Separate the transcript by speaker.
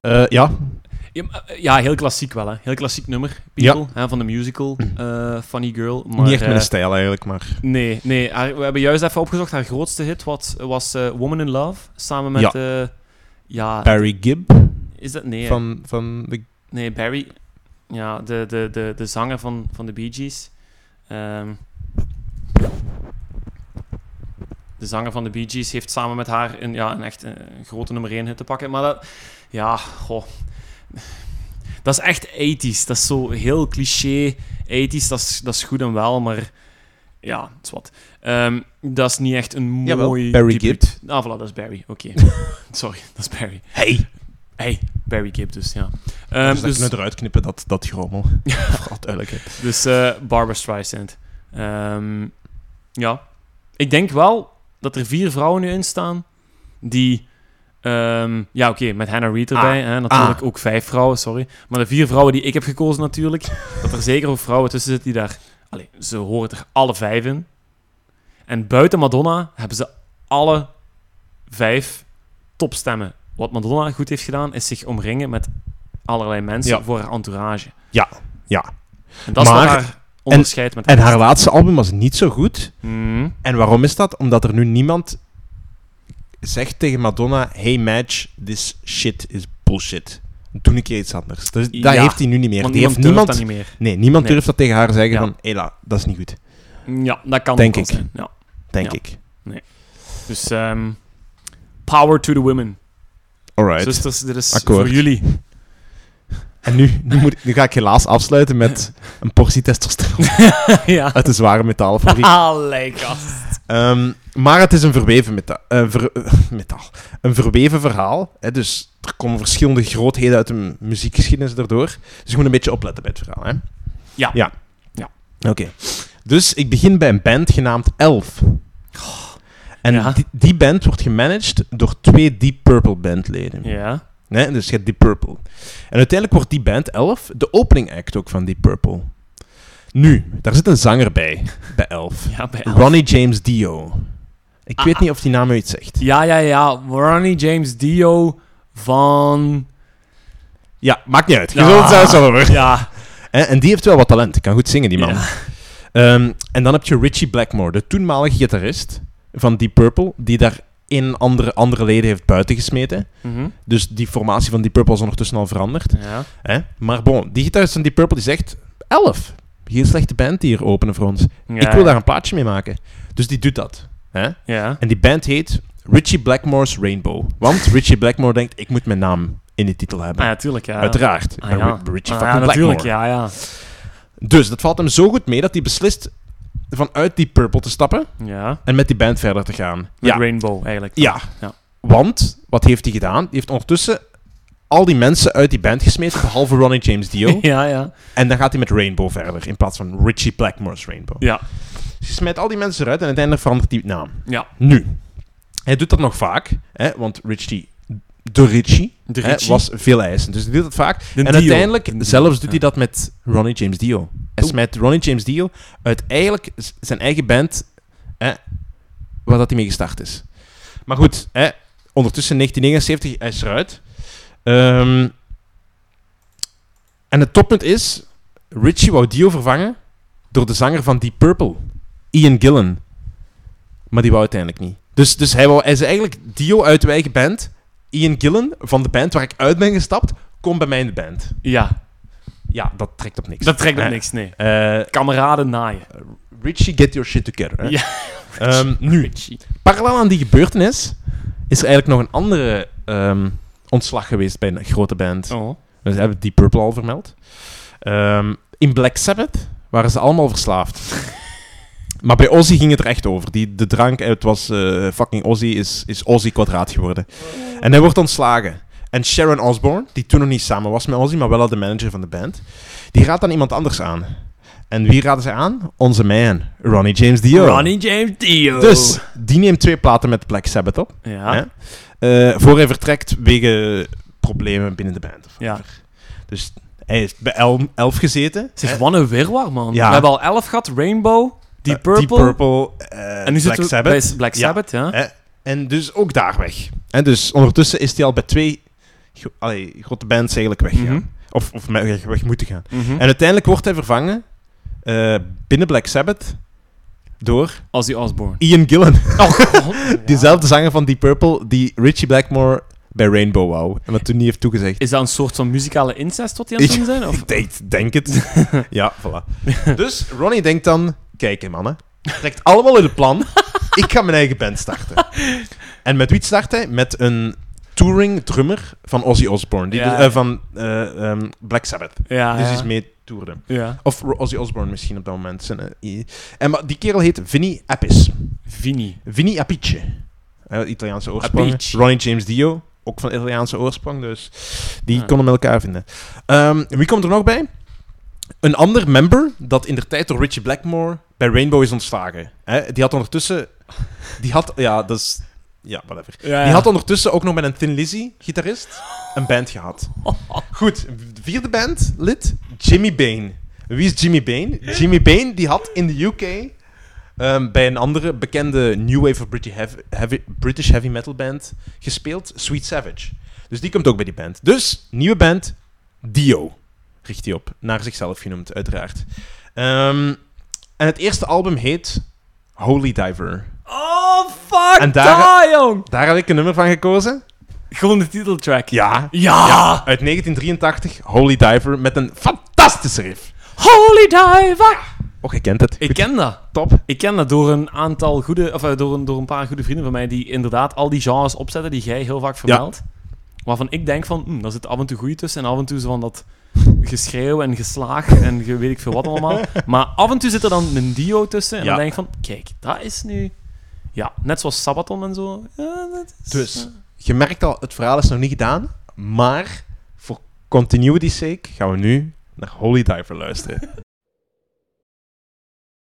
Speaker 1: Eh, ja,
Speaker 2: Ja, maar, eh, ja, heel klassiek wel, hè. Heel klassiek nummer, People, hè, van de musical, eh, Funny Girl. Maar,
Speaker 1: Mm. niet echt
Speaker 2: eh,
Speaker 1: mijn stijl eigenlijk, maar...
Speaker 2: Nee, nee haar- we hebben juist even opgezocht. Haar grootste hit wat, was eh, Woman in Love. Samen met.
Speaker 1: Ja.
Speaker 2: Ja. ja
Speaker 1: Barry Gibb
Speaker 2: is dat? Nee, hè.
Speaker 1: van, van de...
Speaker 2: nee Barry. Ja, de, de, de, de zanger van, van de Bee Gees. Ehm, de zanger van de Bee Gees heeft samen met haar een, ja, een echt eh, een grote nummer 1 hit te pakken. Maar dat. Ja, goh. Dat is echt 80s. Dat is zo heel cliché. 80s, dat is, dat is goed en wel, maar. Ja, het is wat. Ehm, dat is niet echt een
Speaker 1: Jawel,
Speaker 2: mooi.
Speaker 1: Barry
Speaker 2: debuut.
Speaker 1: Gibb.
Speaker 2: Ah, voilà, dat is Barry. Oké. Sorry, dat is Barry.
Speaker 1: Hey!
Speaker 2: Hey, Barry Gibb dus, ja. Ehm,
Speaker 1: dus dat
Speaker 2: dus
Speaker 1: kunnen we eruit knippen, dat, dat grommel. Voor alle duidelijkheid.
Speaker 2: dus eh Barbara Streisand. Ehm, ja. Ik denk wel dat er vier vrouwen nu in staan die... ehm, ja, oké, met Hannah Reid erbij.
Speaker 1: Ah.
Speaker 2: hè, natuurlijk ook vijf vrouwen, sorry. Maar de vier vrouwen die ik heb gekozen natuurlijk, dat er zeker ook vrouwen tussen zitten die daar... Allee, ze horen er alle vijf in. En buiten Madonna hebben ze alle vijf topstemmen. Wat Madonna goed heeft gedaan, is zich omringen met allerlei mensen
Speaker 1: Ja.
Speaker 2: voor haar entourage.
Speaker 1: Ja, ja.
Speaker 2: En dat is
Speaker 1: Maar-
Speaker 2: wat haar onderscheid met
Speaker 1: En haar laatste album was niet zo goed.
Speaker 2: Mhm.
Speaker 1: En waarom is dat? Omdat er nu niemand zegt tegen Madonna: Hey, match, this shit is bullshit. Doe een keer iets anders. Dus dat
Speaker 2: Ja,
Speaker 1: heeft hij nu niet meer.
Speaker 2: Want
Speaker 1: Die
Speaker 2: niemand
Speaker 1: heeft
Speaker 2: durft
Speaker 1: niemand,
Speaker 2: dat niet meer.
Speaker 1: Nee, niemand
Speaker 2: Nee.
Speaker 1: durft dat tegen haar zeggen:
Speaker 2: Ja.
Speaker 1: van, Hela, dat is niet goed,
Speaker 2: Ja, dat kan
Speaker 1: Denk
Speaker 2: ook wel
Speaker 1: ik.
Speaker 2: zijn, Ja.
Speaker 1: denk
Speaker 2: Ja.
Speaker 1: ik.
Speaker 2: Dus ehm, power to the women.
Speaker 1: Alright.
Speaker 2: Zusters, dit is
Speaker 1: Akkoord.
Speaker 2: voor jullie.
Speaker 1: En nu, nu, moet, ik- nu ga ik helaas afsluiten met een portie testosteron
Speaker 2: ja.
Speaker 1: uit de zware metalenfabriek.
Speaker 2: Allee, gast.
Speaker 1: Ehm, maar het is een verweven, meta eh, ver- eh, metaal. Een verweven verhaal. Hè? Dus er komen verschillende grootheden uit de mu- muziekgeschiedenis daardoor. Dus je moet een beetje opletten bij het verhaal. Hè?
Speaker 2: Ja.
Speaker 1: ja.
Speaker 2: Ja.
Speaker 1: Oké. Dus ik begin bij een band genaamd Elf. En
Speaker 2: Ja.
Speaker 1: die, die band wordt gemanaged door twee Deep Purple bandleden.
Speaker 2: Ja.
Speaker 1: Nee, dus je hebt Deep Purple. En uiteindelijk wordt die band 11 de opening act ook van Deep Purple. Nu, daar zit een zanger bij, bij 11.
Speaker 2: Ja, bij elf.
Speaker 1: Ronnie James Dio. Ik
Speaker 2: Ah,
Speaker 1: weet
Speaker 2: ah.
Speaker 1: niet of die naam u iets zegt.
Speaker 2: Ja, ja, ja. Ronnie James Dio van...
Speaker 1: Ja, maakt niet uit. Je
Speaker 2: Ah.
Speaker 1: zult het zelfs wel horen.
Speaker 2: Ja.
Speaker 1: En, en die heeft wel wat talent. Kan goed zingen, die man.
Speaker 2: Ja.
Speaker 1: Ehm, en dan heb je Richie Blackmore, de toenmalige gitarist van Deep Purple, die daar een andere, andere leden heeft buitengesmeten.
Speaker 2: Mhm.
Speaker 1: Dus die formatie van Deep Purple is ondertussen al veranderd.
Speaker 2: ja.
Speaker 1: Hè? Maar bon, die gitarist van Deep Purple die zegt... Elf. Geen slechte band die hier openen voor ons.
Speaker 2: Ja,
Speaker 1: Ik wil daar een plaatje mee maken. Dus die doet dat. Hè?
Speaker 2: Ja.
Speaker 1: En die band heet Richie Blackmore's Rainbow. Want Richie Blackmore denkt, ik moet mijn naam in de titel hebben.
Speaker 2: Ah, ja, tuurlijk, ja.
Speaker 1: Uiteraard. Ik
Speaker 2: Ah,
Speaker 1: ben
Speaker 2: ja.
Speaker 1: Ri- Richie
Speaker 2: Ah, ja,
Speaker 1: fucking
Speaker 2: natuurlijk,
Speaker 1: Blackmore.
Speaker 2: ja, ja.
Speaker 1: Dus dat valt hem zo goed mee dat hij beslist vanuit die Purple te stappen
Speaker 2: Ja.
Speaker 1: en met die band verder te gaan.
Speaker 2: Met
Speaker 1: ja.
Speaker 2: Rainbow, eigenlijk.
Speaker 1: Ja.
Speaker 2: Ja.
Speaker 1: Want, wat heeft hij gedaan? Die heeft ondertussen al die mensen uit die band gesmeten, behalve Ronnie James Dio.
Speaker 2: ja, ja.
Speaker 1: En dan gaat hij met Rainbow verder, in plaats van Richie Blackmore's Rainbow.
Speaker 2: Ja.
Speaker 1: Dus hij smijt al die mensen eruit en uiteindelijk verandert hij het naam.
Speaker 2: Ja.
Speaker 1: Nu, hij doet dat nog vaak, hè, want Richie, de Richie,
Speaker 2: De
Speaker 1: hè,
Speaker 2: Ritchie.
Speaker 1: was veel eisen. Dus hij doet dat vaak.
Speaker 2: De
Speaker 1: en
Speaker 2: Dio.
Speaker 1: uiteindelijk,
Speaker 2: De Dio,
Speaker 1: zelfs doet
Speaker 2: ja.
Speaker 1: hij dat met Ronnie James Dio. Hij
Speaker 2: Oeh.
Speaker 1: smijt Ronnie James Dio uit eigenlijk z- zijn eigen band, hè, waar dat hij mee gestart is. Maar goed, hè, ondertussen 1979, hij is eruit. Ehm, en het toppunt is, Richie wou Dio vervangen door de zanger van Deep Purple, Ian Gillan. Maar die wou uiteindelijk niet. Dus, dus hij, wou, hij zei eigenlijk, Dio uit de eigen band, Ian Gillan van de band waar ik uit ben gestapt, kom bij mij in de band.
Speaker 2: Ja.
Speaker 1: Ja, dat trekt op niks.
Speaker 2: Dat trekt op
Speaker 1: Eh,
Speaker 2: niks, nee.
Speaker 1: eh,
Speaker 2: Kameraden naaien.
Speaker 1: Richie, get your shit together. hè.
Speaker 2: Ja.
Speaker 1: Ehm, nu,
Speaker 2: Ritchie.
Speaker 1: parallel aan die gebeurtenis is er eigenlijk nog een andere ehm, ontslag geweest bij een grote band.
Speaker 2: Oh.
Speaker 1: We hebben Deep Purple al vermeld. Ehm, in Black Sabbath waren ze allemaal verslaafd. maar bij Ozzy ging het er echt over. Die, de drank, eh, het was eh, fucking Ozzy, is, is Ozzy kwadraat geworden. En hij wordt ontslagen. En Sharon Osbourne, die toen nog niet samen was met Ozzy, maar wel al de manager van de band, die raadt dan iemand anders aan. En wie raadde ze aan? Onze man, Ronnie James Dio.
Speaker 2: Ronnie James Dio.
Speaker 1: Dus, die neemt twee platen met Black Sabbath op,
Speaker 2: Oh. Ja.
Speaker 1: Hè? eh, voor hij vertrekt wegen problemen binnen de band.
Speaker 2: ja.
Speaker 1: Dus hij heeft bij el- elf gezeten. Eh,
Speaker 2: Zeg, wat een wirwar, man.
Speaker 1: Ja.
Speaker 2: We hebben al 11 gehad, Rainbow, Deep
Speaker 1: Eh,
Speaker 2: Purple.
Speaker 1: Deep Purple eh,
Speaker 2: en nu
Speaker 1: Black
Speaker 2: zitten we
Speaker 1: Sabbath.
Speaker 2: bij Black
Speaker 1: Ja.
Speaker 2: Sabbath, ja.
Speaker 1: En dus ook daar weg. En dus ondertussen is hij al bij twee gro- allee, grote bands eigenlijk weggaan.
Speaker 2: Mhm.
Speaker 1: Of, of me- weg, weg moeten gaan.
Speaker 2: Mhm.
Speaker 1: Eh, En uiteindelijk wordt hij vervangen eh, binnen Black Sabbath door
Speaker 2: Ozzy Osbourne.
Speaker 1: Ian Gillan.
Speaker 2: Oh, god.
Speaker 1: Diezelfde zanger van Deep Purple die Richie Blackmore bij Rainbow wou. En wat toen niet heeft toegezegd.
Speaker 2: Is dat een soort van muzikale incest wat die aan het doen zijn? Of?
Speaker 1: Ik denk, denk het. ja, voilà. Dus Ronnie denkt dan... Kijk, hè, mannen. Trekt allemaal in het plan. Ik ga mijn eigen band starten. En met wie start hij? Met een touring drummer van Ozzy Osbourne. Die
Speaker 2: Ja,
Speaker 1: dus-
Speaker 2: ja.
Speaker 1: eh, van eh, ehm, Black Sabbath.
Speaker 2: Ja,
Speaker 1: dus
Speaker 2: ja.
Speaker 1: die is mee toerde.
Speaker 2: ja.
Speaker 1: Of Ro- Ozzy Osbourne misschien op dat moment. Zijn, eh, i- en maar die kerel heet Vinnie Appice.
Speaker 2: Vini.
Speaker 1: Vinnie Appice. Eh, Italiaanse oorsprong.
Speaker 2: Appice.
Speaker 1: Ronnie James Dio, ook van Italiaanse oorsprong, dus die
Speaker 2: Ah.
Speaker 1: konden met elkaar vinden. Ehm, wie komt er nog bij? Een ander member dat in de tijd door Richie Blackmore bij Rainbow is ontslagen. Hè, die had ondertussen... Die had... Ja, dat is... Ja, whatever. Die
Speaker 2: Eh.
Speaker 1: had ondertussen ook nog met een Thin Lizzy, gitarist, een band gehad. Goed, vierde band, lid, Jimmy Bain. Wie is Jimmy Bain? Jimmy Bain die had in de UK ehm, bij een andere bekende New Wave of British heavy, heavy- British heavy metal band gespeeld, Sweet Savage. Dus die komt ook bij die band. Dus, nieuwe band, Dio. Richt die op, naar zichzelf genoemd, uiteraard. Ehm, en het eerste album heet Holy Diver.
Speaker 2: Oh, fuck
Speaker 1: En daar-
Speaker 2: die, jong!
Speaker 1: Daar heb ik een nummer van gekozen.
Speaker 2: Gewoon de titeltrack.
Speaker 1: Ja,
Speaker 2: Ja!
Speaker 1: uit 1983, Holy Diver, met een fantastische riff.
Speaker 2: Holy diver!
Speaker 1: Och, je kent het.
Speaker 2: Ik
Speaker 1: Goed,
Speaker 2: ken dat.
Speaker 1: top.
Speaker 2: Ik ken dat door een aantal goede, of eh, door een, door een paar goede vrienden van mij die inderdaad al die genres opzetten die jij heel vaak vermeldt. Waarvan ik denk van, hm, daar zit af en toe goeie tussen en af en toe zo van dat geschreeuw en geslaag en ge- weet ik veel wat allemaal. Maar af en toe zit er dan een dio tussen en
Speaker 1: Ja.
Speaker 2: dan denk ik van, kijk, dat is nu... Ja, net zoals Sabaton en zo. Ja, dat is,
Speaker 1: Dus, je merkt al, het verhaal is nog niet gedaan, maar voor continuity's sake gaan we nu naar Holy Diver luisteren.